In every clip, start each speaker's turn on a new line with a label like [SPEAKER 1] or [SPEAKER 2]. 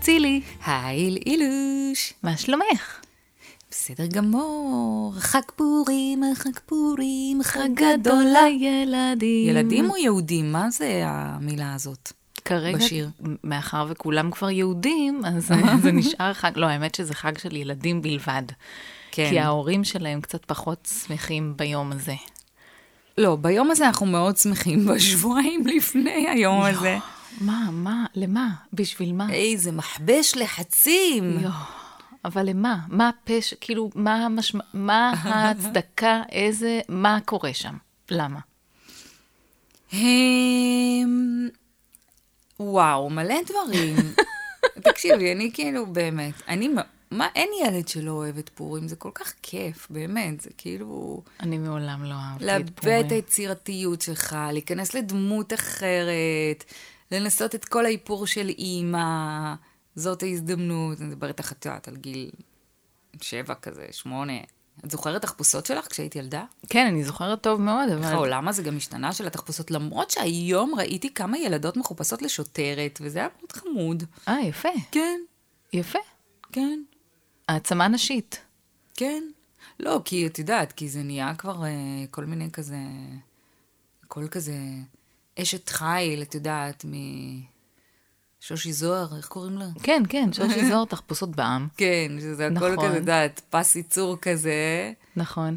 [SPEAKER 1] צילי.
[SPEAKER 2] היי לאילוש.
[SPEAKER 1] מה שלומך?
[SPEAKER 2] בסדר גמור. חג פורים, חג פורים, חג גדול.
[SPEAKER 1] גדול לילדים.
[SPEAKER 2] ילדים או יהודים? מה זה המילה הזאת?
[SPEAKER 1] כרגע,
[SPEAKER 2] בשיר?
[SPEAKER 1] מאחר וכולם כבר יהודים, אז זה נשאר חג, לא, האמת שזה חג של ילדים בלבד.
[SPEAKER 2] כן.
[SPEAKER 1] כי ההורים שלהם קצת פחות שמחים ביום הזה.
[SPEAKER 2] לא, ביום הזה אנחנו מאוד שמחים, בשבועיים לפני היום הזה.
[SPEAKER 1] מה, מה, למה? בשביל מה?
[SPEAKER 2] איזה מכבש לחצים.
[SPEAKER 1] יואו, אבל למה? מה הפשע? כאילו, מה, המשמע... מה ההצדקה? איזה... מה קורה שם? למה?
[SPEAKER 2] הם... וואו, מלא דברים. תקשיבי, אני כאילו, באמת, אני, מ- מה, אין ילד שלא אוהב את פורים, זה כל כך כיף, באמת, זה כאילו...
[SPEAKER 1] אני מעולם לא אהבתי את
[SPEAKER 2] לאבד
[SPEAKER 1] פורים.
[SPEAKER 2] את היצירתיות שלך, להיכנס לדמות אחרת, לנסות את כל האיפור של אימא, זאת ההזדמנות. אני מדברת איתך, את יודעת, על גיל שבע כזה, שמונה. את זוכרת תחפושות שלך כשהיית ילדה?
[SPEAKER 1] כן, אני זוכרת טוב מאוד,
[SPEAKER 2] איך
[SPEAKER 1] אבל...
[SPEAKER 2] העולם הזה גם השתנה של התחפושות, למרות שהיום ראיתי כמה ילדות מחופשות לשוטרת, וזה היה מאוד חמוד.
[SPEAKER 1] אה, יפה,
[SPEAKER 2] כן,
[SPEAKER 1] יפה.
[SPEAKER 2] כן,
[SPEAKER 1] העצמה נשית.
[SPEAKER 2] כן. לא, כי את יודעת, כי זה נהיה כבר אה, כל מיני כזה... כל כזה... אשת חיל, את יודעת, משושי זוהר, איך קוראים לה?
[SPEAKER 1] כן, כן, שושי זוהר תחפושות בעם.
[SPEAKER 2] כן, שזה הכל
[SPEAKER 1] נכון.
[SPEAKER 2] כזה, את יודעת, פס ייצור כזה,
[SPEAKER 1] נכון.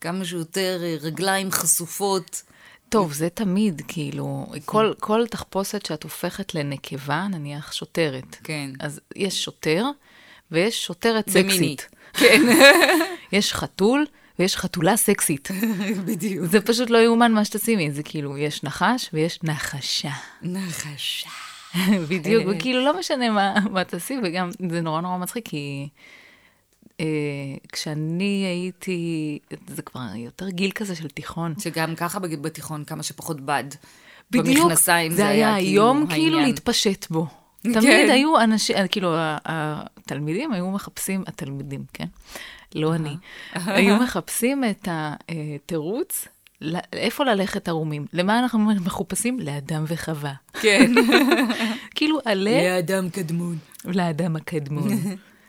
[SPEAKER 2] כמה שיותר אה, רגליים חשופות.
[SPEAKER 1] טוב, זה תמיד, כאילו, כל, כל תחפושת שאת הופכת לנקבה, נניח שוטרת.
[SPEAKER 2] כן.
[SPEAKER 1] אז יש שוטר, ויש שוטרת
[SPEAKER 2] ומינית.
[SPEAKER 1] סקסית. יש חתול, ויש חתולה סקסית.
[SPEAKER 2] בדיוק.
[SPEAKER 1] זה פשוט לא יאומן מה שתשימי, זה כאילו, יש נחש ויש נחשה.
[SPEAKER 2] נחשה.
[SPEAKER 1] בדיוק, וכאילו לא משנה מה, מה תעשי, וגם זה נורא נורא מצחיק, כי אה, כשאני הייתי, זה כבר יותר גיל כזה של תיכון.
[SPEAKER 2] שגם ככה בג- בתיכון כמה שפחות בד.
[SPEAKER 1] בדיוק,
[SPEAKER 2] במכנסיים
[SPEAKER 1] זה היה היום כאילו
[SPEAKER 2] העניין.
[SPEAKER 1] להתפשט בו.
[SPEAKER 2] כן.
[SPEAKER 1] תמיד היו אנשים, כאילו ה- התלמידים היו מחפשים, התלמידים, כן? לא אני. היו מחפשים את התירוץ, ל- איפה ללכת ערומים. למה אנחנו מחופשים? לאדם וחווה.
[SPEAKER 2] כן.
[SPEAKER 1] כאילו, עלה
[SPEAKER 2] לאדם קדמון.
[SPEAKER 1] לאדם הקדמון.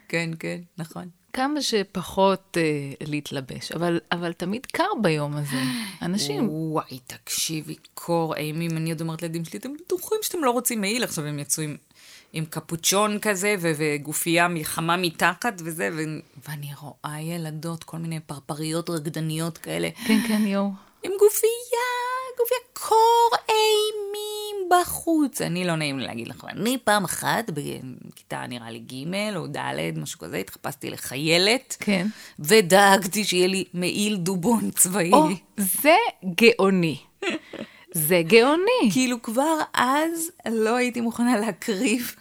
[SPEAKER 2] כן, כן, נכון.
[SPEAKER 1] כמה שפחות אה, להתלבש, אבל, אבל תמיד קר ביום הזה. אנשים,
[SPEAKER 2] וואי, תקשיבי, קור אימים. אני עוד אומרת לילדים שלי, אתם בטוחים שאתם לא רוצים מעיל. עכשיו הם יצאו עם, עם קפוצ'ון כזה, ו- וגופייה חמה מתחת וזה, ו- ואני רואה ילדות, כל מיני פרפריות רקדניות כאלה.
[SPEAKER 1] כן, כן, יואו.
[SPEAKER 2] עם גופייה, גופייה קור אימים בחוץ. אני לא נעים לי להגיד לך, אבל אני פעם אחת, בכיתה נראה לי ג' או ד', משהו כזה, התחפשתי לחיילת.
[SPEAKER 1] כן.
[SPEAKER 2] ודאגתי שיהיה לי מעיל דובון צבאי.
[SPEAKER 1] או, זה גאוני. זה גאוני.
[SPEAKER 2] כאילו כבר אז לא הייתי מוכנה להקריב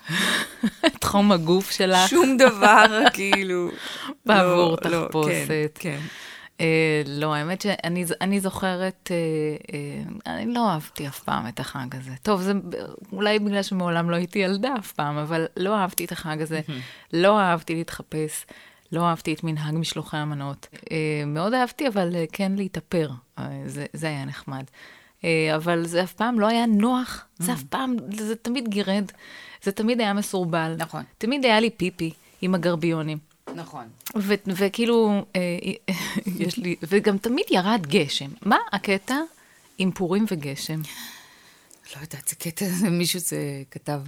[SPEAKER 1] תחום הגוף שלך
[SPEAKER 2] שום דבר, כאילו.
[SPEAKER 1] בעבור
[SPEAKER 2] לא, לא,
[SPEAKER 1] תחפושת.
[SPEAKER 2] כן, כן.
[SPEAKER 1] אה, לא, האמת שאני ז- אני זוכרת, אה, אה, אני לא אהבתי אף פעם את החג הזה. טוב, זה ב- אולי בגלל שמעולם לא הייתי ילדה אף פעם, אבל לא אהבתי את החג הזה, לא אהבתי להתחפש, לא אהבתי את מנהג משלוחי המנות. אה, מאוד אהבתי, אבל אה, כן להתאפר, אה, זה, זה היה נחמד. אה, אבל זה אף פעם לא היה נוח, זה אף פעם, זה תמיד גירד, זה תמיד היה מסורבל.
[SPEAKER 2] נכון.
[SPEAKER 1] תמיד היה לי פיפי עם הגרביונים.
[SPEAKER 2] נכון.
[SPEAKER 1] ו- וכאילו, אה, יש לי, וגם תמיד ירד גשם. מה הקטע עם פורים וגשם?
[SPEAKER 2] לא יודעת, זה קטע, זה מישהו שכתב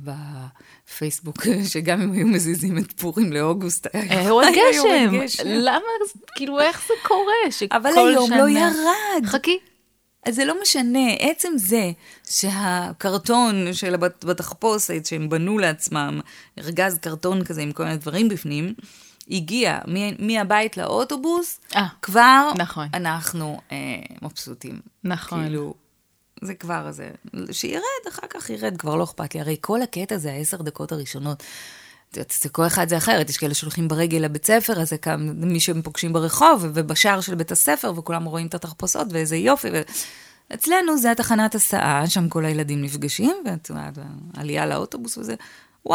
[SPEAKER 2] בפייסבוק, שגם אם היו מזיזים את פורים לאוגוסט,
[SPEAKER 1] אה,
[SPEAKER 2] היה
[SPEAKER 1] יורד
[SPEAKER 2] יורד
[SPEAKER 1] גשם! למה, זה- כאילו, איך זה קורה שכל
[SPEAKER 2] אבל היום לא
[SPEAKER 1] שנה-
[SPEAKER 2] ירד.
[SPEAKER 1] חכי.
[SPEAKER 2] אז זה לא משנה, עצם זה שהקרטון של הבת- בתחפושת שהם בנו לעצמם, ארגז קרטון כזה עם כל מיני דברים בפנים, הגיע מ- מהבית לאוטובוס,
[SPEAKER 1] אה,
[SPEAKER 2] כבר
[SPEAKER 1] נכון.
[SPEAKER 2] אנחנו אה, מבסוטים.
[SPEAKER 1] נכון.
[SPEAKER 2] כאילו, זה כבר זה. שירד, אחר כך ירד, כבר לא אכפת לי. הרי כל הקטע זה העשר דקות הראשונות. את יודעת, זה כל אחד זה אחרת, יש כאלה שהולכים ברגל לבית ספר, אז זה כמה, מי שהם פוגשים ברחוב, ובשער של בית הספר, וכולם רואים את התחפושות, ואיזה יופי. ו... אצלנו זה התחנת הסעה, שם כל הילדים נפגשים, ואת יודעת, עלייה לאוטובוס וזה. once,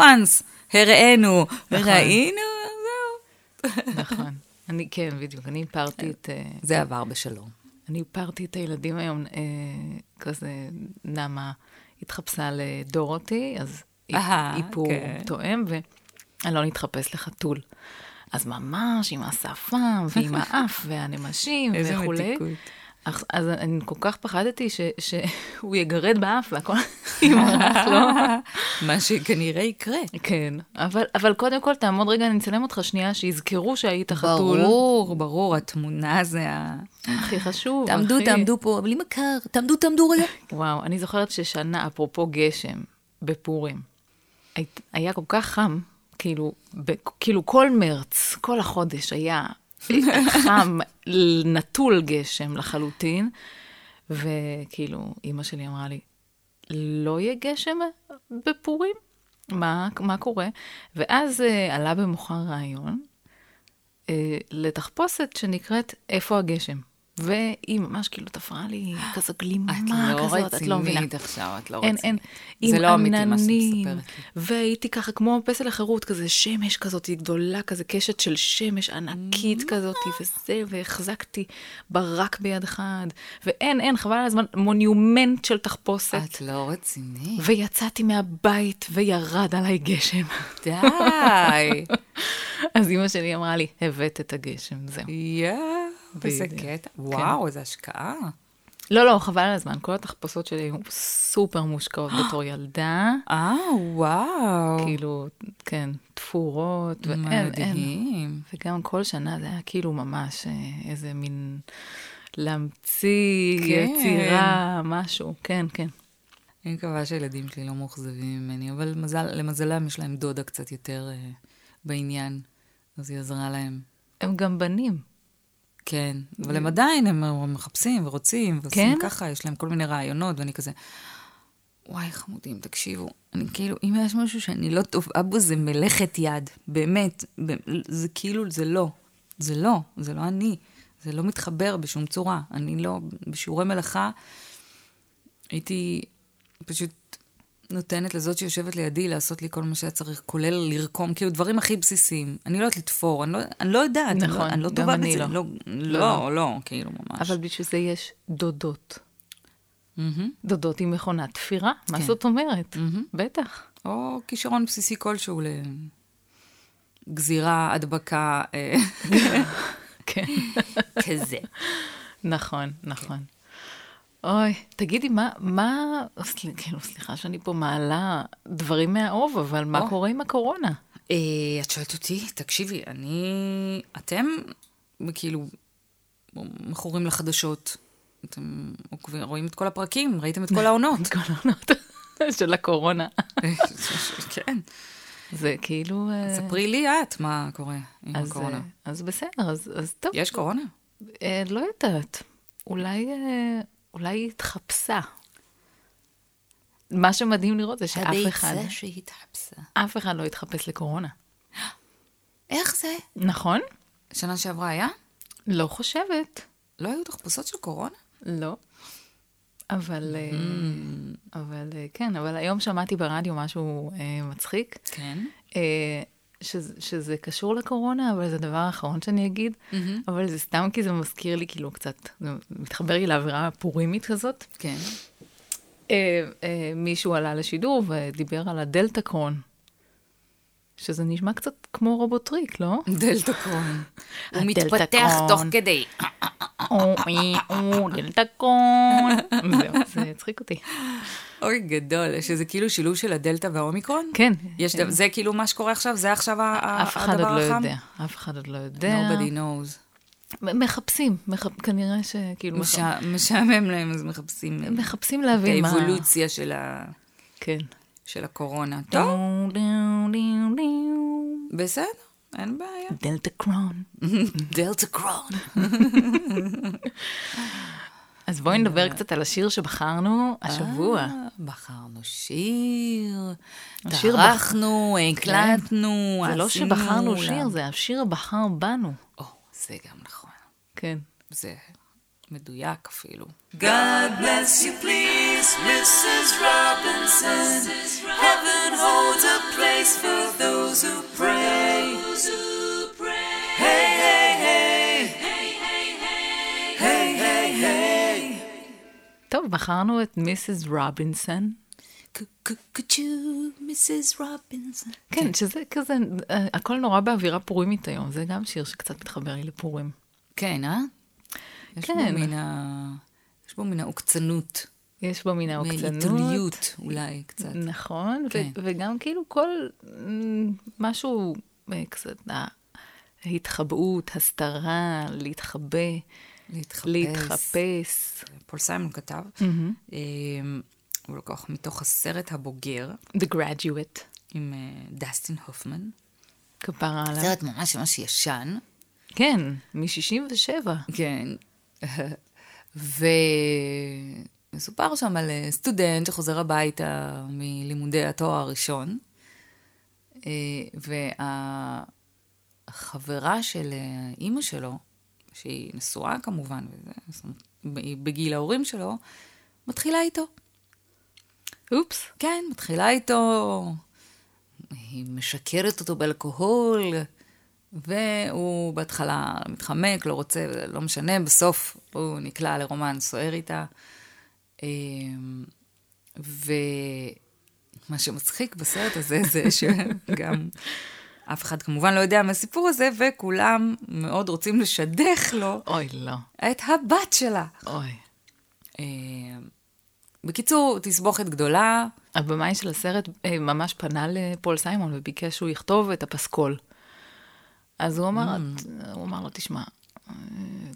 [SPEAKER 2] הראינו, ראינו, זהו.
[SPEAKER 1] נכון. אני, כן, בדיוק, אני הפרתי את... אה,
[SPEAKER 2] זה עבר בשלום.
[SPEAKER 1] אני הפרתי את הילדים היום, אה, כזה, נעמה התחפשה לדורותי, אז
[SPEAKER 2] אהה,
[SPEAKER 1] איפור
[SPEAKER 2] כן.
[SPEAKER 1] תואם, אני לא נתחפש לחתול. אז ממש עם השפם ועם האף והנמשים
[SPEAKER 2] איזה
[SPEAKER 1] וכולי.
[SPEAKER 2] מתיקות.
[SPEAKER 1] אך- אז אני כל כך פחדתי ש- שהוא יגרד באף והכל ימרח לו.
[SPEAKER 2] מה שכנראה יקרה.
[SPEAKER 1] כן, אבל, אבל קודם כל תעמוד רגע, אני אצלם אותך שנייה, שיזכרו שהיית חתול.
[SPEAKER 2] ברור, ברור, התמונה זה ה...
[SPEAKER 1] הכי חשוב,
[SPEAKER 2] תעמדו,
[SPEAKER 1] הכי...
[SPEAKER 2] תעמדו פה, בלי מכר, תעמדו, תעמדו רגע.
[SPEAKER 1] וואו, אני זוכרת ששנה, אפרופו גשם, בפורים, היית- היה כל כך חם, כאילו, ב, כאילו כל מרץ, כל החודש היה חם, נטול גשם לחלוטין, וכאילו, אימא שלי אמרה לי, לא יהיה גשם בפורים? מה, מה קורה? ואז uh, עלה במוחר רעיון אה, לתחפושת שנקראת איפה הגשם. והיא ממש כאילו תפרה לי כזו גלימה כזאת, את לא מבינה.
[SPEAKER 2] עכשיו, את לא
[SPEAKER 1] אין, אין.
[SPEAKER 2] זה
[SPEAKER 1] עם
[SPEAKER 2] לא אמיתי מה שאת
[SPEAKER 1] עננים,
[SPEAKER 2] מספרת לי.
[SPEAKER 1] והייתי ככה כמו פסל החירות, כזה שמש כזאת גדולה, כזה קשת של שמש
[SPEAKER 2] Mm.
[SPEAKER 1] ענקית כזאת, וזה, והחזקתי ברק ביד אחד, ואין, אין, חבל על הזמן, מוניומנט של תחפושת.
[SPEAKER 2] את לא רצינית.
[SPEAKER 1] ויצאתי מהבית וירד עליי גשם.
[SPEAKER 2] די.
[SPEAKER 1] אז אמא שלי אמרה לי, הבאת את הגשם, זהו.
[SPEAKER 2] יואו, איזה
[SPEAKER 1] בדיוק.
[SPEAKER 2] קטע.
[SPEAKER 1] כן.
[SPEAKER 2] וואו, איזה השקעה.
[SPEAKER 1] לא, לא, חבל על הזמן, כל התחפושות שלי היו סופר מושקעות בתור ילדה.
[SPEAKER 2] אה, וואו. כאילו,
[SPEAKER 1] כאילו, כן, תפורות, ואין, אין.
[SPEAKER 2] מדהים.
[SPEAKER 1] וגם כל שנה זה היה כאילו ממש אה, איזה מין להמציא,
[SPEAKER 2] כן.
[SPEAKER 1] יצירה, משהו, כן, כן.
[SPEAKER 2] אני מקווה שהילדים שלי לא מאוכזבים ממני, אבל מזל, למזלם יש להם דודה קצת יותר אה, בעניין, אז היא עזרה להם.
[SPEAKER 1] הם גם בנים.
[SPEAKER 2] כן, אבל הם עדיין, הם מחפשים ורוצים, ועושים
[SPEAKER 1] כן?
[SPEAKER 2] ככה, יש להם כל מיני רעיונות, ואני כזה, וואי, חמודים, תקשיבו, אני כאילו, אם יש משהו שאני לא טובה בו, זה מלאכת יד, באמת, ב- זה כאילו, זה לא, זה לא, זה לא אני, זה לא מתחבר בשום צורה, אני לא, בשיעורי מלאכה, הייתי פשוט נותנת לזאת שיושבת לידי לעשות לי כל מה שהיה צריך, כולל לרקום, כאילו דברים הכי בסיסיים. אני לא יודעת לתפור, אני לא, אני לא יודעת, אני
[SPEAKER 1] נכון,
[SPEAKER 2] לא, אני לא
[SPEAKER 1] גם
[SPEAKER 2] טובה
[SPEAKER 1] אני
[SPEAKER 2] בזה.
[SPEAKER 1] לא.
[SPEAKER 2] לא, לא, לא, כאילו ממש.
[SPEAKER 1] אבל בשביל זה יש דודות.
[SPEAKER 2] מהמם.
[SPEAKER 1] דודות עם מכונת תפירה, מה
[SPEAKER 2] כן.
[SPEAKER 1] זאת אומרת? בטח.
[SPEAKER 2] או כישרון בסיסי כלשהו לגזירה, הדבקה, אה,
[SPEAKER 1] כן,
[SPEAKER 2] כזה.
[SPEAKER 1] נכון, נכון. אוי, תגידי, מה, מה, סל- כאילו, סליחה שאני פה מעלה דברים מהאוב, אבל מה
[SPEAKER 2] או.
[SPEAKER 1] קורה עם הקורונה?
[SPEAKER 2] אה, את שואלת אותי, תקשיבי, אני... אתם כאילו מכורים לחדשות. אתם עוקבים, רואים את כל הפרקים, ראיתם את כל העונות.
[SPEAKER 1] כל העונות של הקורונה.
[SPEAKER 2] כן.
[SPEAKER 1] זה כאילו... אה,
[SPEAKER 2] ספרי לי את מה קורה עם
[SPEAKER 1] אז,
[SPEAKER 2] הקורונה.
[SPEAKER 1] אה, אז בסדר, אז, אז טוב.
[SPEAKER 2] יש קורונה?
[SPEAKER 1] אה, לא יודעת. אולי, אה, אולי היא התחפשה. מה שמדהים לראות זה שאף אחד,
[SPEAKER 2] שהתחפשה.
[SPEAKER 1] אף אחד לא התחפש לקורונה.
[SPEAKER 2] איך זה?
[SPEAKER 1] נכון?
[SPEAKER 2] שנה שעברה היה?
[SPEAKER 1] לא חושבת.
[SPEAKER 2] לא היו תחפושות של קורונה?
[SPEAKER 1] לא. אבל, אה,
[SPEAKER 2] Mm-hmm.
[SPEAKER 1] אבל אה, כן, אבל היום שמעתי ברדיו משהו אה, מצחיק.
[SPEAKER 2] כן.
[SPEAKER 1] אה, שזה, שזה קשור לקורונה, אבל זה הדבר האחרון שאני אגיד,
[SPEAKER 2] Mm-hmm.
[SPEAKER 1] אבל זה סתם כי זה מזכיר לי כאילו קצת, זה מתחבר לי לאווירה הפורימית כזאת.
[SPEAKER 2] כן.
[SPEAKER 1] אה, אה, מישהו עלה לשידור ודיבר על הדלתא קרון, שזה נשמע קצת כמו רובוטריק, לא?
[SPEAKER 2] דלתא קרון. הוא
[SPEAKER 1] הדלתא
[SPEAKER 2] מתפתח
[SPEAKER 1] קרון.
[SPEAKER 2] תוך כדי.
[SPEAKER 1] או, אי, או, דלתא קרון. זהו, זה הצחיק אותי.
[SPEAKER 2] אוי, גדול. שזה כאילו שילוב של הדלתא והאומיקרון?
[SPEAKER 1] כן.
[SPEAKER 2] יש דבר- זה כאילו מה שקורה עכשיו? זה עכשיו ה- ה-
[SPEAKER 1] אף אחד
[SPEAKER 2] הדבר
[SPEAKER 1] עוד לא
[SPEAKER 2] החם?
[SPEAKER 1] יודע, אף אחד עוד לא יודע.
[SPEAKER 2] Nobody knows.
[SPEAKER 1] מ- מחפשים, מחפ- כנראה שכאילו מחפ-
[SPEAKER 2] משע- משעמם להם, אז מחפשים
[SPEAKER 1] לא מחפשים
[SPEAKER 2] את
[SPEAKER 1] להבין מה...
[SPEAKER 2] האבולוציה של ה-
[SPEAKER 1] כן.
[SPEAKER 2] של הקורונה. טוב,
[SPEAKER 1] טוב.
[SPEAKER 2] בסדר, אין בעיה. אה,
[SPEAKER 1] דלתא קרון.
[SPEAKER 2] דלתא קרון.
[SPEAKER 1] אז בואי נדבר קצת על השיר שבחרנו השבוע.
[SPEAKER 2] אה, בחרנו שיר,
[SPEAKER 1] השיר
[SPEAKER 2] טרחנו, הקלטנו,
[SPEAKER 1] זה לא
[SPEAKER 2] עשינו
[SPEAKER 1] שבחרנו
[SPEAKER 2] לה-
[SPEAKER 1] שיר, זה השיר בחר בנו.
[SPEAKER 2] או, זה גם נכון.
[SPEAKER 1] כן.
[SPEAKER 2] זה מדויק אפילו.
[SPEAKER 3] God bless you, please, Mrs. Robinson. Heaven holds a place for those who pray. Hey, hey, hey. Hey, hey, hey.
[SPEAKER 1] טוב, בחרנו את מיסס רובינסון.
[SPEAKER 2] קו-קו-קו-צ'ו, מיסיס רובינסון.
[SPEAKER 1] כן, שזה כזה, אה, הכל נורא באווירה פורימית היום, זה גם שיר שקצת מתחבר לי לפורים.
[SPEAKER 2] כן, אה? יש בו
[SPEAKER 1] כן.
[SPEAKER 2] מן ה... יש בו מן העוקצנות.
[SPEAKER 1] יש בו מן העוקצנות.
[SPEAKER 2] מעיתוניות אולי קצת.
[SPEAKER 1] נכון, ו-
[SPEAKER 2] כן.
[SPEAKER 1] וגם כאילו כל מ, משהו אה, קצת, אה, התחבאות, הסתרה, להתחבא,
[SPEAKER 2] להתחפש. Mm. כן.
[SPEAKER 1] להתחפש.
[SPEAKER 2] פול סיימון כתב. אמ, הוא לקוח מתוך הסרט הבוגר
[SPEAKER 1] The Graduate,
[SPEAKER 2] עם אה, דסטין הופמן.
[SPEAKER 1] כפרה עליו.
[SPEAKER 2] סרט ממש ממש ישן.
[SPEAKER 1] כן, מ-67.
[SPEAKER 2] כן. ומסופר שם על אה, סטודנט שחוזר הביתה מלימודי התואר הראשון, אה, והחברה של אה, אימא שלו, שהיא נשואה כמובן, וזה, זאת אומרת, היא בגיל ההורים שלו, מתחילה איתו.
[SPEAKER 1] אופס.
[SPEAKER 2] כן, מתחילה איתו, היא משקרת אותו באלכוהול, והוא בהתחלה מתחמק, לא רוצה, לא משנה, בסוף הוא נקלע לרומן סוער איתה. אמ, ומה שמצחיק בסרט הזה זה שגם אף אחד כמובן לא יודע מהסיפור הזה, וכולם מאוד רוצים לשדך לו
[SPEAKER 1] אוי, לא.
[SPEAKER 2] את הבת שלה.
[SPEAKER 1] אוי.
[SPEAKER 2] אמ, בקיצור, תסבוכת גדולה.
[SPEAKER 1] הבמאי של הסרט אה, ממש פנה לפול סיימון וביקש שהוא יכתוב את הפסקול. אז הוא אמר,
[SPEAKER 2] Mm.
[SPEAKER 1] "את- הוא אמר לו, תשמע, אה,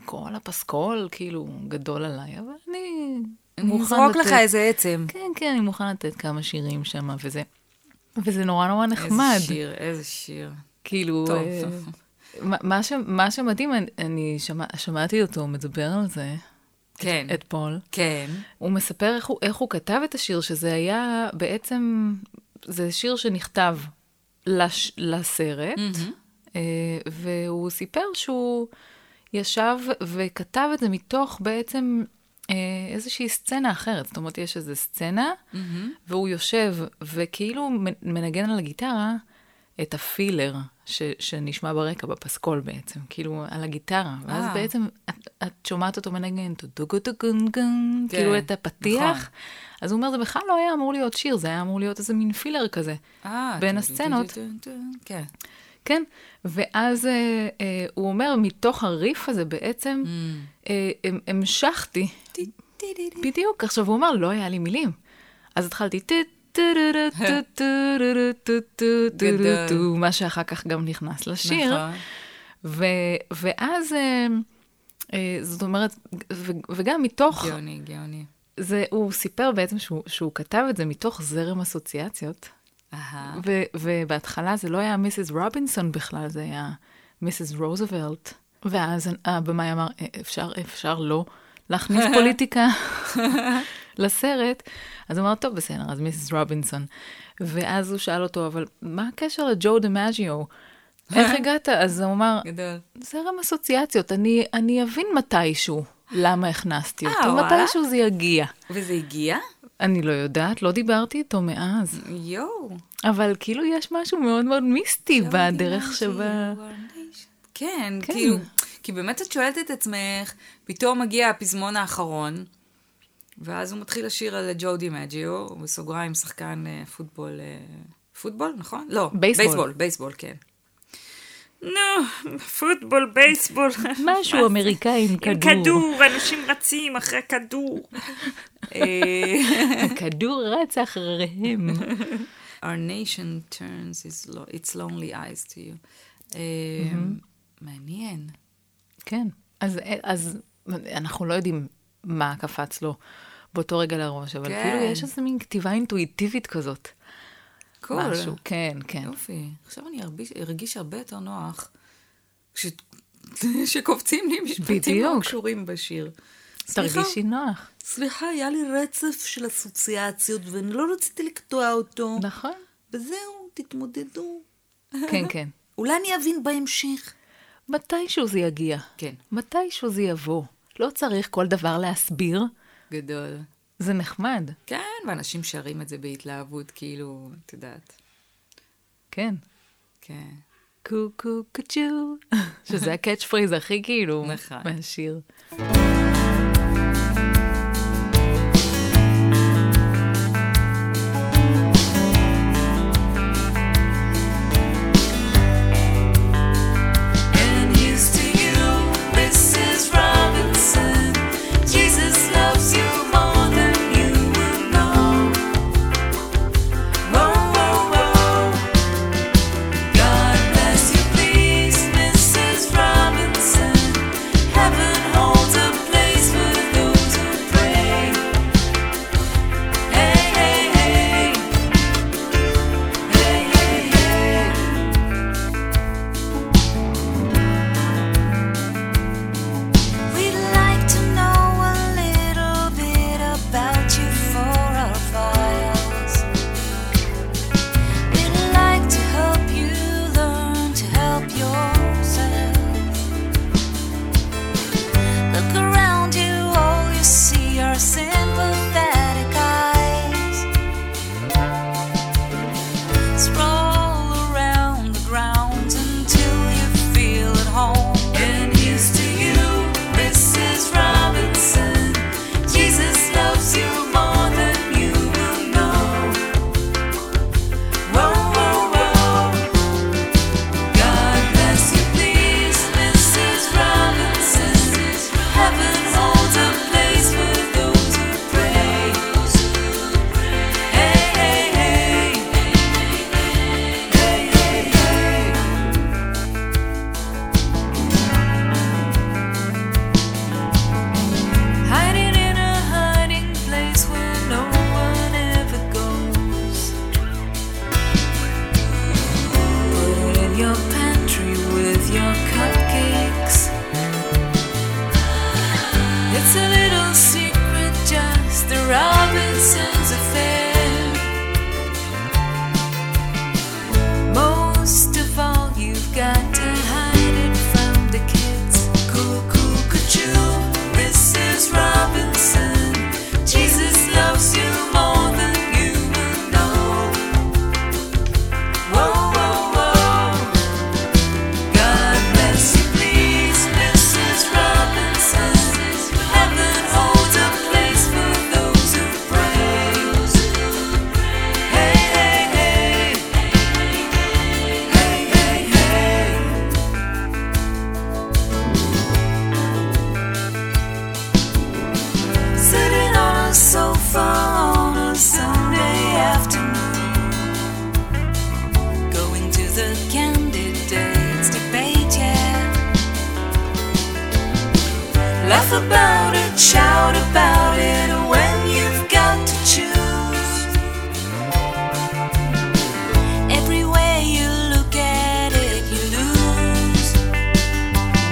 [SPEAKER 1] כל הפסקול כאילו גדול עליי, אבל אני מוכן
[SPEAKER 2] נזרוק לך איזה עצם.
[SPEAKER 1] כן, כן, אני מוכן לתת כמה שירים שם, וזה... וזה נורא נורא נחמד.
[SPEAKER 2] איזה שיר, איזה שיר.
[SPEAKER 1] כאילו,
[SPEAKER 2] טוב.
[SPEAKER 1] אה, מה- מה ש- מה שמדהים, אני- אני שמע- שמעתי אותו מדבר על זה,
[SPEAKER 2] כן,
[SPEAKER 1] את פול.
[SPEAKER 2] כן.
[SPEAKER 1] הוא מספר איך הוא, איך הוא כתב את השיר, שזה היה בעצם, זה שיר שנכתב לש, לסרט, mm-hmm. והוא סיפר שהוא ישב וכתב את זה מתוך בעצם אה, איזושהי סצנה אחרת. זאת אומרת, יש איזו סצנה, mm-hmm. והוא יושב וכאילו מ- מנגן על הגיטרה את הפילר. ש, שנשמע ברקע, בפסקול בעצם, כאילו על הגיטרה, ואז
[SPEAKER 2] אה.
[SPEAKER 1] בעצם את, את שומעת אותו מנגן, טו-דו-גו-דו-גון-גון,
[SPEAKER 2] כן,
[SPEAKER 1] כאילו את
[SPEAKER 2] נכון.
[SPEAKER 1] הפתיח. אז הוא אומר, זה בכלל לא היה אמור להיות שיר, זה היה אמור להיות איזה מין פילר כזה.
[SPEAKER 2] אה,
[SPEAKER 1] בין
[SPEAKER 2] טו-
[SPEAKER 1] הסצנות.
[SPEAKER 2] טו- טו- טו- כן.
[SPEAKER 1] כן? ואז אה, אה, הוא אומר, מתוך הריף הזה בעצם
[SPEAKER 2] Mm.
[SPEAKER 1] אה, המ- המשכתי.
[SPEAKER 2] טי- טי- טי- טי.
[SPEAKER 1] בדיוק. עכשיו, הוא אמר, לא היה לי מילים. אז התחלתי, "טו- טו- טו- טו- טו- טו- טו- טו- טו-
[SPEAKER 2] גדול.
[SPEAKER 1] טו", מה שאחר כך גם נכנס לשיר.
[SPEAKER 2] נכון.
[SPEAKER 1] ו- ואז, אה, אה, זאת אומרת, ו- וגם מתוך...
[SPEAKER 2] נכון. גאוני, גאוני.
[SPEAKER 1] זה, הוא סיפר בעצם שהוא, שהוא כתב את זה מתוך זרם אסוציאציות,
[SPEAKER 2] אהה.
[SPEAKER 1] ו, ובהתחלה זה לא היה מיסיס רובינסון בכלל, זה היה מיסיס רוזוולט. ואז הבמאי אמר, "אה, אפשר, אפשר לא להכניס פוליטיקה לסרט. אז הוא אמר, טוב, בסדר, אז מיסיס רובינסון. ואז הוא שאל אותו, אבל מה הקשר לג'ו דמאג'יו? איך הגעת? אז הוא אמר,
[SPEAKER 2] גדול.
[SPEAKER 1] זרם אסוציאציות, אני, אני אבין מתישהו למה הכנסתי
[SPEAKER 2] אה,
[SPEAKER 1] אותו,
[SPEAKER 2] וואלה?
[SPEAKER 1] מתישהו זה יגיע.
[SPEAKER 2] וזה הגיע?
[SPEAKER 1] אני לא יודעת, לא דיברתי איתו מאז,
[SPEAKER 2] יואו.
[SPEAKER 1] אבל כאילו יש משהו מאוד מאוד מיסטי
[SPEAKER 2] לא
[SPEAKER 1] בדרך
[SPEAKER 2] גאוני,
[SPEAKER 1] שבה...
[SPEAKER 2] גאוני. כן,
[SPEAKER 1] כן.
[SPEAKER 2] כאילו, כי באמת את שואלת את עצמך, פתאום מגיע הפזמון האחרון, ואז הוא מתחיל לשיר על ג'ודי מג'יו, בסוגריים שחקן אה, פוטבול, אה, פוטבול, נכון? לא,
[SPEAKER 1] בייסבול.
[SPEAKER 2] בייסבול, בייסבול, כן. נו, פוטבול, בייסבול.
[SPEAKER 1] משהו אמריקאי עם
[SPEAKER 2] עם
[SPEAKER 1] כדור.
[SPEAKER 2] כדור, אנשים רצים אחרי כדור. אה,
[SPEAKER 1] הכדור רץ אחריהם.
[SPEAKER 2] Our nation turns its lo- its lonely eyes to you. אה, מעניין.
[SPEAKER 1] כן, אז, אז אנחנו לא יודעים מה קפץ לו באותו רגע לראש, אבל
[SPEAKER 2] כן.
[SPEAKER 1] כאילו יש איזה מין כתיבה אינטואיטיבית כזאת.
[SPEAKER 2] קול. אוקיי,
[SPEAKER 1] משהו, כן, כן.
[SPEAKER 2] יופי. עכשיו אני ארגיש, ארגיש הרבה יותר נוח כש- שקופצים לי משפטים לא
[SPEAKER 1] בדיוק.
[SPEAKER 2] קשורים בשיר. סליחה,
[SPEAKER 1] תרגישי נוח.
[SPEAKER 2] סליחה, היה לי רצף של אסוציאציות ואני לא רציתי לקטוע אותו.
[SPEAKER 1] נכון?
[SPEAKER 2] וזהו, תתמודדו.
[SPEAKER 1] כן, כן.
[SPEAKER 2] אולי אני אבין בהמשך.
[SPEAKER 1] מתישהו זה יגיע.
[SPEAKER 2] כן.
[SPEAKER 1] מתישהו זה יבוא. לא צריך כל דבר להסביר,
[SPEAKER 2] גדול.
[SPEAKER 1] זה נחמד,
[SPEAKER 2] כן, ואנשים שרים את זה בהתלהבות, כאילו, את יודעת.
[SPEAKER 1] כן.
[SPEAKER 2] כן.
[SPEAKER 1] קו קו קצ'ו, שזה הקאץ' פריז הכי כאילו
[SPEAKER 2] נכון.
[SPEAKER 1] מהשיר.
[SPEAKER 3] Laugh about it, shout about it when you've got to choose. Every way you look at it, you lose.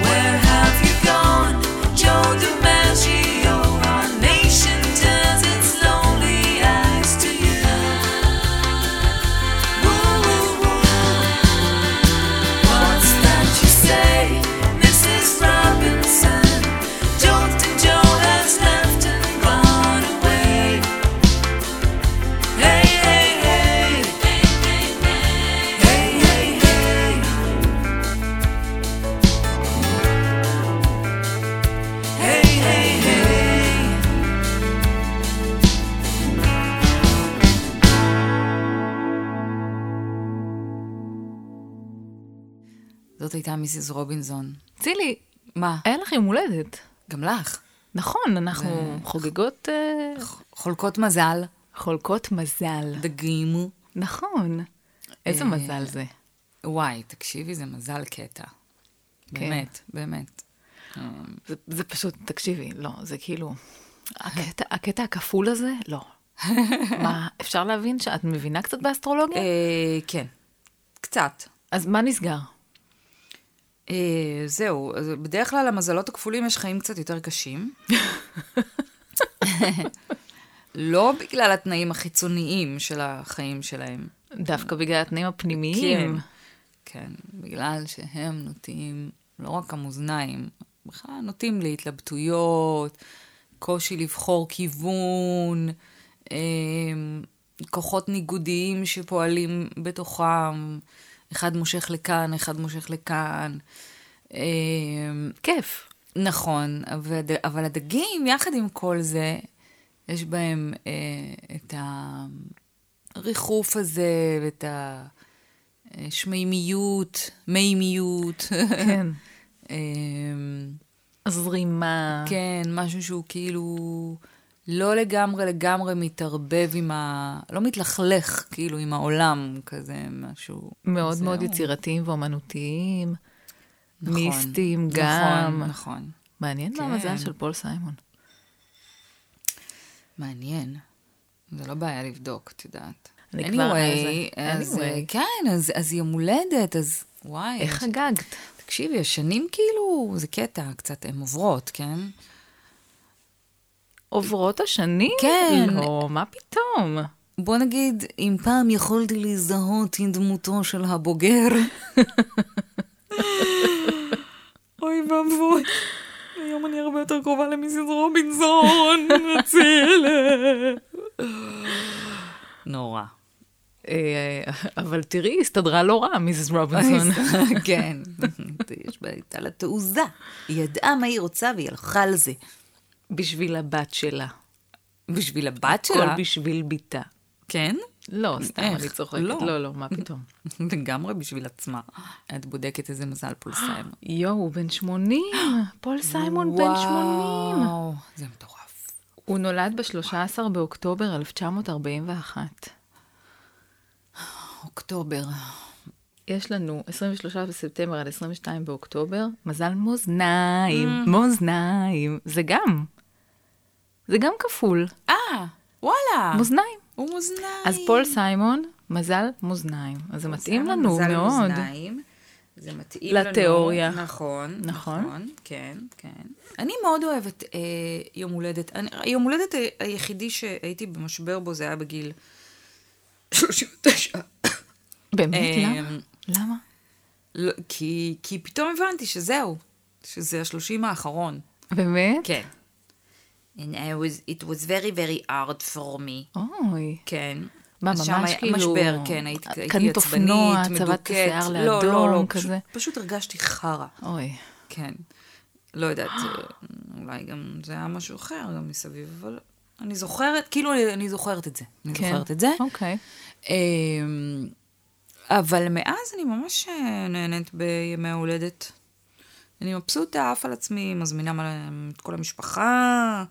[SPEAKER 3] Where have you gone, Joe DiMaggio? Our nation turns its lonely eyes to you. Woo-woo-woo. What's that you say, Mrs. Robinson? Jolton Joe has left and gone away. Hey, hey, hey. Hey, hey, hey. Hey, hey, hey.
[SPEAKER 2] זאת הייתה מיסיס רובינזון.
[SPEAKER 1] צילי,
[SPEAKER 2] מה?
[SPEAKER 1] היה לך יום הולדת.
[SPEAKER 2] גם לך.
[SPEAKER 1] נכון, אנחנו חוגגות אה,
[SPEAKER 2] חולקות מזל,
[SPEAKER 1] חולקות מזל.
[SPEAKER 2] דגים.
[SPEAKER 1] נכון. איזה מזל זה.
[SPEAKER 2] וואי, תקשיבי, זה מזל קטע. באמת, באמת.
[SPEAKER 1] זה- זה פשוט, תקשיבי, לא, זה כאילו... הקטע, הקטע הכפול הזה, לא. מה, אפשר להבין שאת מבינה קצת באסטרולוגיה?
[SPEAKER 2] אה, כן, קצת.
[SPEAKER 1] אז מה נסגר?
[SPEAKER 2] אה, זהו, אז בדרך כלל למזלות הכפולים יש חיים קצת יותר קשים. לא בגלל התנאים החיצוניים של החיים שלהם.
[SPEAKER 1] דווקא בגלל התנאים הפנימיים.
[SPEAKER 2] כן, בגלל שהם נוטים, לא רק המאזניים, בכלל נוטים להתלבטויות, קושי לבחור כיוון, אה, כוחות ניגודיים שפועלים בתוכם, אחד מושך לכאן, אחד מושך לכאן. אה,
[SPEAKER 1] כיף.
[SPEAKER 2] נכון, אבל, אבל הדגים, יחד עם כל זה, יש בהם אה, את הריחוף הזה ואת השמימיות, אה, מימיות.
[SPEAKER 1] כן.
[SPEAKER 2] אה,
[SPEAKER 1] זרימה.
[SPEAKER 2] כן, משהו שהוא כאילו לא לגמרי לגמרי מתערבב עם ה... לא מתלכלך כאילו עם העולם, כזה משהו.
[SPEAKER 1] כן. מאוד מאוד
[SPEAKER 2] זהו.
[SPEAKER 1] יצירתיים ואומנותיים.
[SPEAKER 2] נכון,
[SPEAKER 1] מיסטיים גם.
[SPEAKER 2] נכון, נכון.
[SPEAKER 1] מעניין מה
[SPEAKER 2] כן.
[SPEAKER 1] המזל של פול סיימון.
[SPEAKER 2] מעניין. זה לא בעיה לבדוק, את יודעת.
[SPEAKER 1] אני
[SPEAKER 2] anyway,
[SPEAKER 1] כבר-
[SPEAKER 2] אז,
[SPEAKER 1] anyway.
[SPEAKER 2] אה, כן, אז, אז יום הולדת, אז וואי.
[SPEAKER 1] איך
[SPEAKER 2] יש-
[SPEAKER 1] חגגת?
[SPEAKER 2] תקשיבי, השנים כאילו, זה קטע, קצת הן עוברות, כן?
[SPEAKER 1] עוברות השנים?
[SPEAKER 2] כן.
[SPEAKER 1] לא, מה פתאום?
[SPEAKER 2] בוא נגיד, אם פעם יכולתי להזדהות עם דמותו של הבוגר. אוי ואבוי, היום אני הרבה יותר קרובה למיסיס רובינזון, מצילת. נורא.
[SPEAKER 1] אה, אבל תראי, הסתדרה לא רע, מיסס רובינזון.
[SPEAKER 2] כן, יש בה, הייתה לה תעוזה. היא ידעה מה היא רוצה והיא הלכה על זה.
[SPEAKER 1] בשביל הבת שלה.
[SPEAKER 2] בשביל הבת
[SPEAKER 1] הכל
[SPEAKER 2] שלה.
[SPEAKER 1] בשביל בתה.
[SPEAKER 2] כן?
[SPEAKER 1] לא, סתם,
[SPEAKER 2] איך?
[SPEAKER 1] אני צוחקת.
[SPEAKER 2] לא.
[SPEAKER 1] לא, לא, מה פתאום.
[SPEAKER 2] לגמרי בשביל עצמה. את בודקת איזה מזל פולסיים.
[SPEAKER 1] יואו, הוא בן 80. פול סיימון בן 80.
[SPEAKER 2] וואו, זה מטורף.
[SPEAKER 1] הוא נולד ב-13 באוקטובר 1941.
[SPEAKER 2] אוקטובר.
[SPEAKER 1] יש לנו 23 בספטמבר עד 22 באוקטובר, מזל מאזניים,
[SPEAKER 2] Mm.
[SPEAKER 1] מאזניים, זה גם, זה גם כפול,
[SPEAKER 2] אה, וואלה.
[SPEAKER 1] מאזניים.
[SPEAKER 2] הוא מאזניים.
[SPEAKER 1] אז פול סיימון, מזל מאזניים. אז זה מתאים לנו
[SPEAKER 2] מזל
[SPEAKER 1] מאוד.
[SPEAKER 2] מאזניים. זה מתאים לנו.
[SPEAKER 1] לתיאוריה.
[SPEAKER 2] נכון,
[SPEAKER 1] נכון.
[SPEAKER 2] נכון. כן, כן. אני מאוד אוהבת אה, יום הולדת. אני, יום הולדת ה- היחידי שהייתי במשבר בו זה היה בגיל 39.
[SPEAKER 1] באמת,
[SPEAKER 2] אה,
[SPEAKER 1] למה? למה?
[SPEAKER 2] לא, כי, כי פתאום הבנתי שזהו, שזה השלושים האחרון.
[SPEAKER 1] באמת?
[SPEAKER 2] כן. And I was, it was very very hard for me.
[SPEAKER 1] אוי.
[SPEAKER 2] כן.
[SPEAKER 1] מה,
[SPEAKER 2] אז שם
[SPEAKER 1] ממש
[SPEAKER 2] היה
[SPEAKER 1] כאילו-
[SPEAKER 2] משבר, כן, הייתי
[SPEAKER 1] קנית
[SPEAKER 2] הייתי עצבנית, מדוכאת.
[SPEAKER 1] אופנוע, צבעת השיער
[SPEAKER 2] לא, לא, לא,
[SPEAKER 1] לאדום,
[SPEAKER 2] פשוט-
[SPEAKER 1] כזה.
[SPEAKER 2] פשוט הרגשתי חרא.
[SPEAKER 1] אוי.
[SPEAKER 2] כן. לא יודעת, אה, אולי גם זה היה משהו אחר גם מסביב, אבל אני זוכרת, כאילו אני, אני זוכרת את זה. אני
[SPEAKER 1] כן.
[SPEAKER 2] זוכרת את זה.
[SPEAKER 1] אוקיי.
[SPEAKER 2] אמ, אבל מאז אני ממש אה, נהנית בימי ההולדת. אני מבסוטה, עף על עצמי, מזמינה מלא- את כל המשפחה,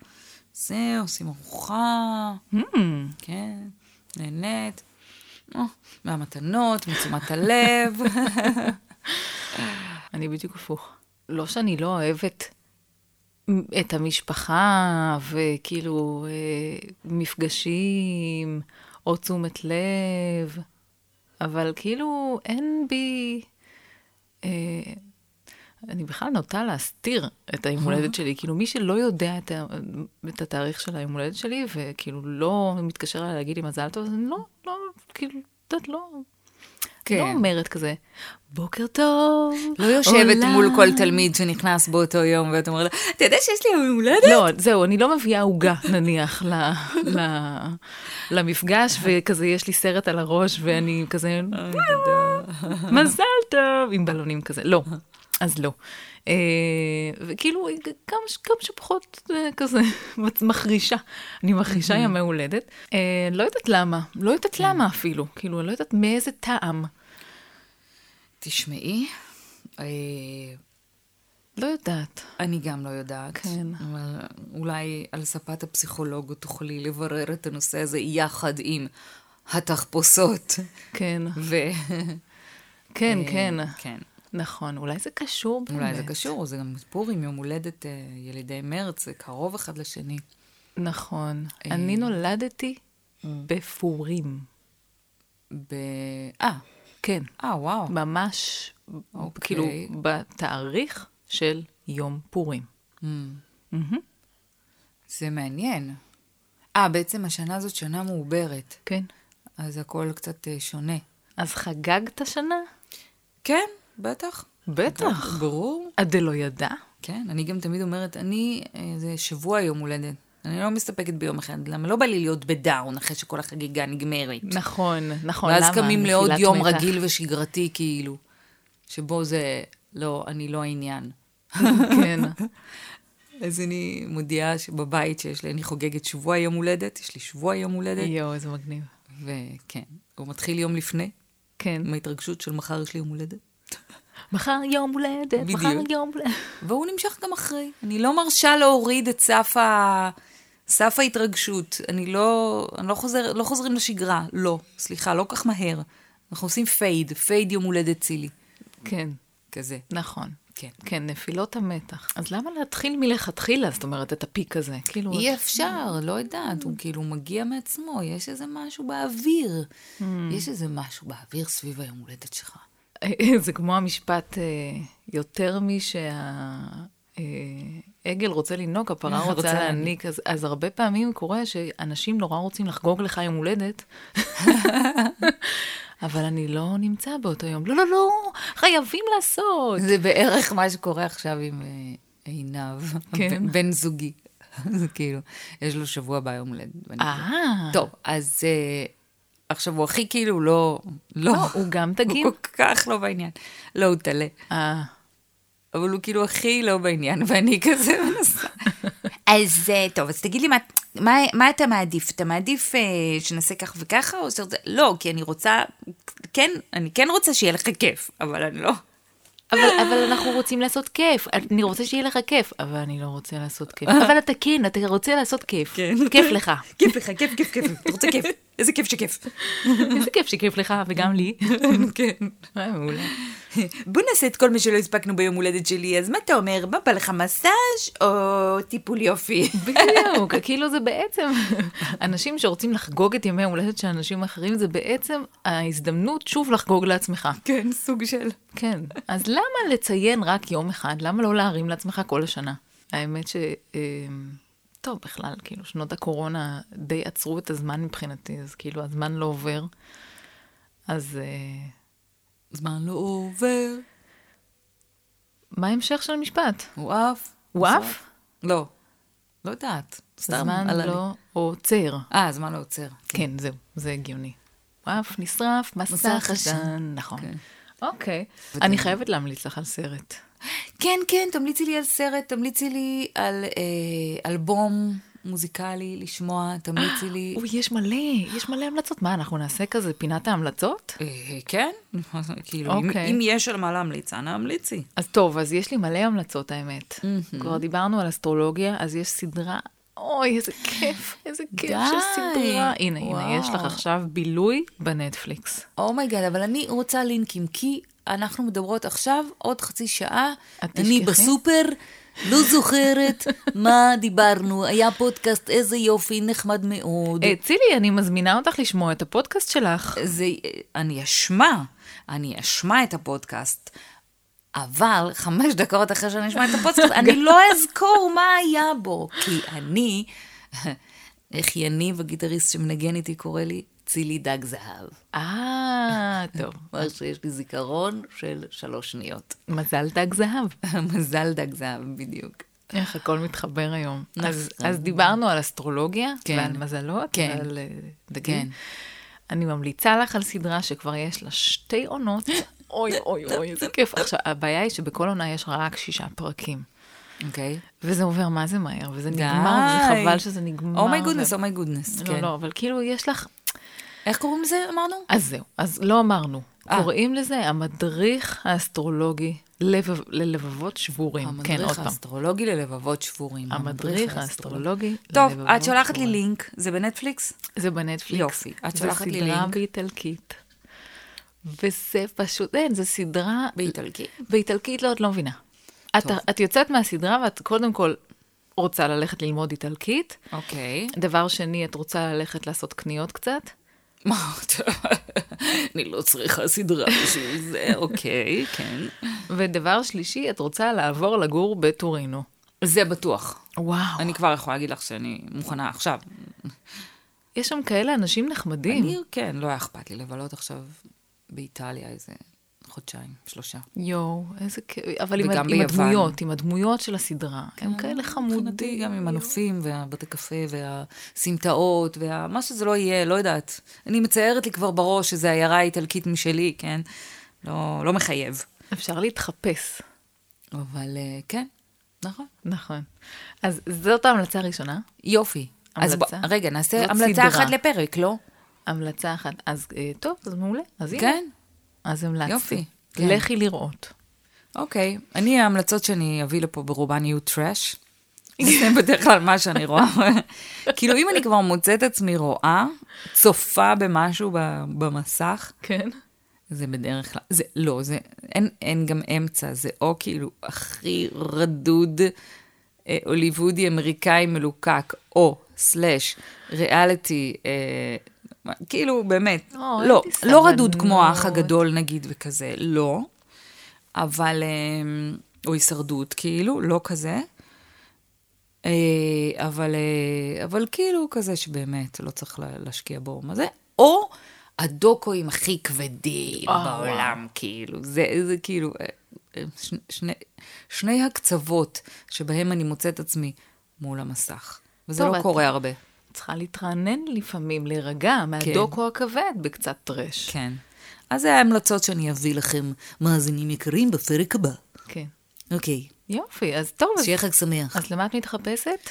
[SPEAKER 2] זה, עושים ארוחה,
[SPEAKER 1] Hmm,
[SPEAKER 2] כן, נהנית. אה, מהמתנות, מתשומת הלב.
[SPEAKER 1] אני בדיוק הפוך. לא שאני לא אוהבת את המשפחה, וכאילו אה, מפגשים, או תשומת לב, אבל כאילו אין בי... אה, אני בכלל נוטה להסתיר את היום הולדת שלי. כאילו, מי שלא יודע את, ה- את התאריך של היום הולדת שלי, וכאילו לא מתקשר אליי להגיד לי מזל טוב, אז אני לא, לא, כאילו, את יודעת, לא... כן. לא
[SPEAKER 2] כן.
[SPEAKER 1] אומרת כזה, בוקר טוב,
[SPEAKER 2] לא יושבת
[SPEAKER 1] עולה."
[SPEAKER 2] מול כל תלמיד שנכנס באותו יום, ואת אומרת לו, אתה יודע שיש לי יום הולדת?
[SPEAKER 1] לא, זהו, אני לא מביאה עוגה, נניח, ל, ל, למפגש, וכזה יש לי סרט על הראש, ואני כזה,
[SPEAKER 2] אה,
[SPEAKER 1] "אה, לא, מזל טוב, עם בלונים כזה. לא, אז לא. אה, וכאילו, כמה, ש- כמה שפחות אה, כזה מחרישה. אני מחרישה ימי הולדת. אה, לא יודעת למה, לא יודעת
[SPEAKER 2] כן.
[SPEAKER 1] למה אפילו. כאילו, אני לא יודעת מאיזה טעם.
[SPEAKER 2] תשמעי, אה,
[SPEAKER 1] לא יודעת.
[SPEAKER 2] אני גם לא יודעת.
[SPEAKER 1] כן.
[SPEAKER 2] אבל אולי על ספת הפסיכולוג תוכלי לברר את הנושא הזה יחד עם התחפושות.
[SPEAKER 1] כן,
[SPEAKER 2] ו...
[SPEAKER 1] כן, כן.
[SPEAKER 2] כן.
[SPEAKER 1] נכון, אולי זה קשור באמת.
[SPEAKER 2] אולי זה קשור, זה גם פורים, יום הולדת, אה, ילידי מרץ, זה קרוב אחד לשני.
[SPEAKER 1] נכון. אני נולדתי בפורים.
[SPEAKER 2] ב... אה,
[SPEAKER 1] כן.
[SPEAKER 2] אה, וואו.
[SPEAKER 1] ממש,
[SPEAKER 2] אוקיי.
[SPEAKER 1] כאילו, בתאריך של יום פורים.
[SPEAKER 2] Hmm. זה מעניין. אה, בעצם השנה הזאת שנה מעוברת,
[SPEAKER 1] כן.
[SPEAKER 2] אז הכל קצת אה, שונה.
[SPEAKER 1] אז חגגת השנה?
[SPEAKER 2] כן, בטח.
[SPEAKER 1] בטח.
[SPEAKER 2] ברור.
[SPEAKER 1] את דלא ידע?
[SPEAKER 2] כן, אני גם תמיד אומרת, אני, אה, זה שבוע יום הולדת. אני לא מסתפקת ביום אחד, למה לא בא לי להיות בדאון אחרי שכל החגיגה נגמרת.
[SPEAKER 1] נכון, נכון.
[SPEAKER 2] ואז
[SPEAKER 1] למה?
[SPEAKER 2] קמים לעוד
[SPEAKER 1] נפילת
[SPEAKER 2] יום
[SPEAKER 1] מתח.
[SPEAKER 2] רגיל ושגרתי, כאילו, שבו זה, לא, אני לא העניין.
[SPEAKER 1] כן.
[SPEAKER 2] אז אני מודיעה שבבית שיש לי, אני חוגגת שבוע יום הולדת, יש לי שבוע יום הולדת,
[SPEAKER 1] יואו, איזה מגניב.
[SPEAKER 2] וכן, הוא מתחיל יום לפני,
[SPEAKER 1] כן.
[SPEAKER 2] עם ההתרגשות של מחר יש לי יום הולדת.
[SPEAKER 1] מחר יום הולדת,
[SPEAKER 2] בדיוק.
[SPEAKER 1] מחר יום הולדת.
[SPEAKER 2] והוא נמשך גם אחרי. אני לא מרשה להוריד את סף, ה... סף ההתרגשות. אני לא, אני לא, חוזר, לא חוזרים לשגרה. לא, סליחה, לא כך מהר. אנחנו עושים פייד, פייד יום הולדת צילי.
[SPEAKER 1] כן,
[SPEAKER 2] כזה.
[SPEAKER 1] נכון.
[SPEAKER 2] כן.
[SPEAKER 1] כן, נפילות המתח. אז למה להתחיל מלכתחילה, זאת אומרת, את הפיק הזה? כאילו...
[SPEAKER 2] אי אפשר, לא יודעת, הוא כאילו מגיע מעצמו, יש איזה משהו באוויר. יש איזה משהו באוויר סביב היום הולדת שלך.
[SPEAKER 1] זה כמו המשפט, אה, יותר משהעגל רוצה לנהוג, הפרה
[SPEAKER 2] רוצה
[SPEAKER 1] רוצה
[SPEAKER 2] להיניק.
[SPEAKER 1] להעניק. אז, אז הרבה פעמים קורה שאנשים נורא רוצים לחגוג לך יום הולדת, אבל אני לא נמצא באותו יום. לא, לא, לא, חייבים לעשות.
[SPEAKER 2] זה בערך מה שקורה עכשיו עם אה, עינב,
[SPEAKER 1] כן.
[SPEAKER 2] ב- בן זוגי. זה כאילו, יש לו שבוע ביום הולדת. ואני
[SPEAKER 1] אה.
[SPEAKER 2] כזה, טוב, אז אה, עכשיו הוא הכי כאילו לא... לא,
[SPEAKER 1] לא, הוא גם דגים.
[SPEAKER 2] הוא כל כך לא בעניין. לא, הוא טלה.
[SPEAKER 1] אה,
[SPEAKER 2] אבל הוא כאילו הכי לא בעניין, ואני כזה מנסה. אז אה, טוב, אז תגיד לי, מה, מה, מה אתה מעדיף? אתה מעדיף אה, שנעשה כך וככה, או שאתה... לא, כי אני רוצה... כן, אני כן רוצה שיהיה לך כיף, אבל אני לא...
[SPEAKER 1] אבל, אבל אנחנו רוצים לעשות כיף, אני רוצה שיהיה לך כיף, אבל אני לא רוצה לעשות כיף. אבל אתה כן, אתה רוצה לעשות כיף.
[SPEAKER 2] כן.
[SPEAKER 1] כיף לך.
[SPEAKER 2] כיף לך, כיף, כיף, כיף, אתה רוצה כיף, איזה כיף שכיף.
[SPEAKER 1] איזה כיף שכיף לך, וגם לי.
[SPEAKER 2] כן.
[SPEAKER 1] אה, מעולה.
[SPEAKER 2] בוא נעשה את כל מה שלא הספקנו ביום הולדת שלי, אז מה אתה אומר, מה בא לך מסאז' או טיפול יופי?
[SPEAKER 1] בדיוק, כאילו זה בעצם, אנשים שרוצים לחגוג את ימי ההולדת של אנשים אחרים, זה בעצם ההזדמנות שוב לחגוג לעצמך.
[SPEAKER 2] כן, סוג של...
[SPEAKER 1] כן. אז למה לציין רק יום אחד? למה לא להרים לעצמך כל השנה? האמת ש... אמ, טוב, בכלל, כאילו, שנות הקורונה די עצרו את הזמן מבחינתי, אז כאילו, הזמן לא עובר. אז אה,
[SPEAKER 2] זמן לא עובר,
[SPEAKER 1] מה ההמשך של המשפט?
[SPEAKER 2] הוא עף.
[SPEAKER 1] הוא עף?
[SPEAKER 2] לא. לא יודעת. סתם
[SPEAKER 1] זמן
[SPEAKER 2] עלה לי.
[SPEAKER 1] לא עוצר.
[SPEAKER 2] אה, זמן לא עוצר.
[SPEAKER 1] כן, זהו, זה הגיוני. אף נשרף,
[SPEAKER 2] מסך
[SPEAKER 1] מסך
[SPEAKER 2] עשן.
[SPEAKER 1] עשן, נכון.
[SPEAKER 2] כן.
[SPEAKER 1] אוקיי. אני חייבת להמליץ לך על סרט.
[SPEAKER 2] כן, כן, תמליצי לי על סרט, תמליצי לי על אה, אלבום מוזיקלי לשמוע, תמליצי לי...
[SPEAKER 1] אוי, יש מלא, יש מלא המלצות. מה, אנחנו נעשה כזה פינת ההמלצות?
[SPEAKER 2] אה, כן, כאילו, אם-
[SPEAKER 1] אוקיי.
[SPEAKER 2] אם יש על מה להמליץ, אנא המליצי.
[SPEAKER 1] אז טוב, אז יש לי מלא המלצות, האמת. כבר דיברנו על אסטרולוגיה, אז יש סדרה... אוי, איזה כיף, איזה כיף של
[SPEAKER 2] די.
[SPEAKER 1] סדרה. הנה, הנה, יש לך
[SPEAKER 2] וואו.
[SPEAKER 1] עכשיו בילוי בנטפליקס.
[SPEAKER 2] אומייגאד, אבל אני רוצה לינקים, כי אנחנו מדברות עכשיו עוד חצי שעה,
[SPEAKER 1] את
[SPEAKER 2] אני
[SPEAKER 1] תשכחי?
[SPEAKER 2] בסופר, לא זוכרת מה דיברנו, היה פודקאסט, איזה יופי, נחמד מאוד.
[SPEAKER 1] אה, צילי, אני מזמינה אותך לשמוע את הפודקאסט שלך.
[SPEAKER 2] זה, אני אשמע, אני אשמע את הפודקאסט, אבל חמש דקות אחרי שאני אשמע את הפודקאסט, אני לא אזכור מה היה בו, כי אני, איך יניב הגיטריסט שמנגן איתי קורא לי, צילי דג זהב.
[SPEAKER 1] אה, טוב.
[SPEAKER 2] אומר שיש לי זיכרון של שלוש שניות.
[SPEAKER 1] מזל דג זהב.
[SPEAKER 2] מזל דג זהב, בדיוק.
[SPEAKER 1] איך הכל מתחבר היום. אז,
[SPEAKER 2] נכון.
[SPEAKER 1] אז דיברנו על אסטרולוגיה,
[SPEAKER 2] כן.
[SPEAKER 1] ועל מזלות,
[SPEAKER 2] כן.
[SPEAKER 1] ועל אה, דגים.
[SPEAKER 2] כן.
[SPEAKER 1] אני ממליצה לך על סדרה שכבר יש לה שתי עונות. אוי, אוי, אוי, איזה כיף. עכשיו, הבעיה היא שבכל עונה יש רק שישה פרקים.
[SPEAKER 2] אוקיי.
[SPEAKER 1] וזה עובר מה זה מהר, וזה נגמר, וזה חבל שזה נגמר.
[SPEAKER 2] אומי גודנס,
[SPEAKER 1] ו-
[SPEAKER 2] אומי גודנס,
[SPEAKER 1] לא,
[SPEAKER 2] Oh כן.
[SPEAKER 1] לא, אבל כאילו יש לך...
[SPEAKER 2] איך קוראים לזה, אמרנו?
[SPEAKER 1] אז זהו, אז לא אמרנו.
[SPEAKER 2] אה.
[SPEAKER 1] קוראים לזה המדריך האסטרולוגי ללבב- ללבבות שבורים. כן, עוד
[SPEAKER 2] המדריך
[SPEAKER 1] פעם.
[SPEAKER 2] האסטרולוגי ללבבות שבורים.
[SPEAKER 1] המדריך האסטרולוגי
[SPEAKER 2] טוב,
[SPEAKER 1] ללבבות
[SPEAKER 2] את שולחת לי
[SPEAKER 1] שבורים.
[SPEAKER 2] לינק, זה בנטפליקס?
[SPEAKER 1] זה בנטפליקס.
[SPEAKER 2] יופי, את שולחת לי
[SPEAKER 1] זו סדרה
[SPEAKER 2] לינק.
[SPEAKER 1] באיטלקית. וזה פשוט, אין, זו סדרה...
[SPEAKER 2] באיטלקי?
[SPEAKER 1] באיטלקית לא, את לא מבינה. את,
[SPEAKER 2] טוב.
[SPEAKER 1] את יוצאת מהסדרה ואת קודם כל רוצה ללכת ללמוד איטלקית.
[SPEAKER 2] אוקיי.
[SPEAKER 1] דבר שני, את רוצה ללכת לעשות קניות קצת.
[SPEAKER 2] מה, אני לא צריכה סדרה בשביל זה, אוקיי, כן.
[SPEAKER 1] ודבר שלישי, את רוצה לעבור לגור בטורינו.
[SPEAKER 2] זה בטוח.
[SPEAKER 1] וואו.
[SPEAKER 2] אני כבר יכולה להגיד לך שאני מוכנה עכשיו.
[SPEAKER 1] יש שם כאלה אנשים נחמדים.
[SPEAKER 2] אני, כן, לא היה אכפת לי לבלות עכשיו באיטליה איזה חודשיים, שלושה.
[SPEAKER 1] יואו, איזה כיף. אבל עם,
[SPEAKER 2] וגם
[SPEAKER 1] עם
[SPEAKER 2] ביוון. כן,
[SPEAKER 1] הדמויות, עם הדמויות של הסדרה. הם כאלה
[SPEAKER 2] מבחינתי
[SPEAKER 1] חמודים.
[SPEAKER 2] גם עם הנופים והבתי קפה והסמטאות וה... מה שזה לא יהיה, לא יודעת. אני מציירת לי כבר בראש שזו עיירה איטלקית משלי, כן? לא, לא מחייב.
[SPEAKER 1] אפשר להתחפש.
[SPEAKER 2] אבל אה, כן, נכון.
[SPEAKER 1] נכון. אז זאת ההמלצה הראשונה.
[SPEAKER 2] יופי. אז בוא,
[SPEAKER 1] המלצה? לא
[SPEAKER 2] רגע, נעשה
[SPEAKER 1] זאת
[SPEAKER 2] המלצה
[SPEAKER 1] סדרה.
[SPEAKER 2] אחת לפרק, לא?
[SPEAKER 1] המלצה אחת. אז אה, טוב, אז מעולה. אז הנה.
[SPEAKER 2] כן?
[SPEAKER 1] אז המלצתי.
[SPEAKER 2] יופי, כן.
[SPEAKER 1] לכי לראות.
[SPEAKER 2] אוקיי. אני, ההמלצות שאני אביא לפה ברובן יהיו טראש. זה בדרך כלל מה שאני רואה. כאילו, אם אני כבר מוצאת עצמי רואה, צופה במשהו ב- במסך,
[SPEAKER 1] כן.
[SPEAKER 2] זה בדרך כלל, זה לא, זה, אין, אין גם אמצע, זה או כאילו הכי רדוד אה, הוליוודי אמריקאי מלוקק, או סלאש ריאליטי, אה, מה- כאילו באמת,
[SPEAKER 1] או, אין
[SPEAKER 2] לא,
[SPEAKER 1] לי
[SPEAKER 2] לא רדוד
[SPEAKER 1] סבלנות.
[SPEAKER 2] כמו האח הגדול נגיד וכזה, לא, אבל, אה, או הישרדות כאילו, לא כזה. אה, אבל, אה, אבל כאילו כזה שבאמת לא צריך לה- להשקיע בו מה זה, או הדוקואים הכי כבדים
[SPEAKER 1] אה,
[SPEAKER 2] בעולם, כאילו, זה, זה כאילו, אה, אה, ש- שני, שני הקצוות שבהם אני מוצאת עצמי מול המסך, וזה
[SPEAKER 1] טוב,
[SPEAKER 2] לא
[SPEAKER 1] את-
[SPEAKER 2] קורה הרבה.
[SPEAKER 1] צריכה להתרענן לפעמים, להירגע מהדוקו הכבד בקצת טרש.
[SPEAKER 2] כן. אז זה ההמלצות שאני אביא לכם, מאזינים יקרים, בפרק הבא.
[SPEAKER 1] כן.
[SPEAKER 2] אוקיי,
[SPEAKER 1] יופי, אז טוב. אז-
[SPEAKER 2] שיהיה חג שמח.
[SPEAKER 1] אז למה את מתחפשת?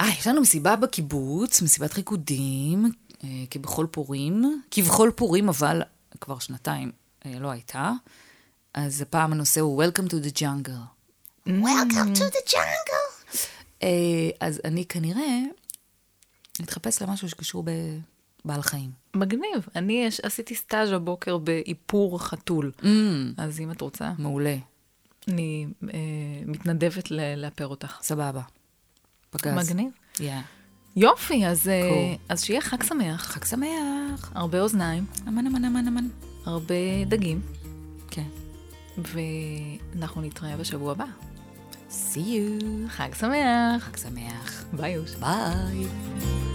[SPEAKER 2] אה, יש לנו מסיבה בקיבוץ, מסיבת ריקודים, אה, כבכל פורים. כבכל פורים, אבל כבר שנתיים אה, לא הייתה. אז הפעם הנושא הוא Welcome to the jungle. Welcome to the jungle. אה, אז אני כנראה אתחפש למשהו שקשור בבעל חיים.
[SPEAKER 1] מגניב. אני יש, עשיתי סטאז' הבוקר באיפור חתול.
[SPEAKER 2] Mm.
[SPEAKER 1] אז אם את רוצה,
[SPEAKER 2] מעולה,
[SPEAKER 1] אני אה, מתנדבת ל- לאפר אותך.
[SPEAKER 2] סבבה. פגז.
[SPEAKER 1] מגניב.
[SPEAKER 2] Yeah.
[SPEAKER 1] יופי, אז, אה,
[SPEAKER 2] Cool.
[SPEAKER 1] אז שיהיה חג שמח,
[SPEAKER 2] חג שמח.
[SPEAKER 1] הרבה אוזניים,
[SPEAKER 2] אמן, אמן, אמן, אמן.
[SPEAKER 1] הרבה דגים,
[SPEAKER 2] כן.
[SPEAKER 1] ואנחנו נתראה בשבוע הבא.
[SPEAKER 2] See you.
[SPEAKER 1] חג שמח.
[SPEAKER 2] חג שמח.
[SPEAKER 1] ביי, יוש.
[SPEAKER 2] ביי.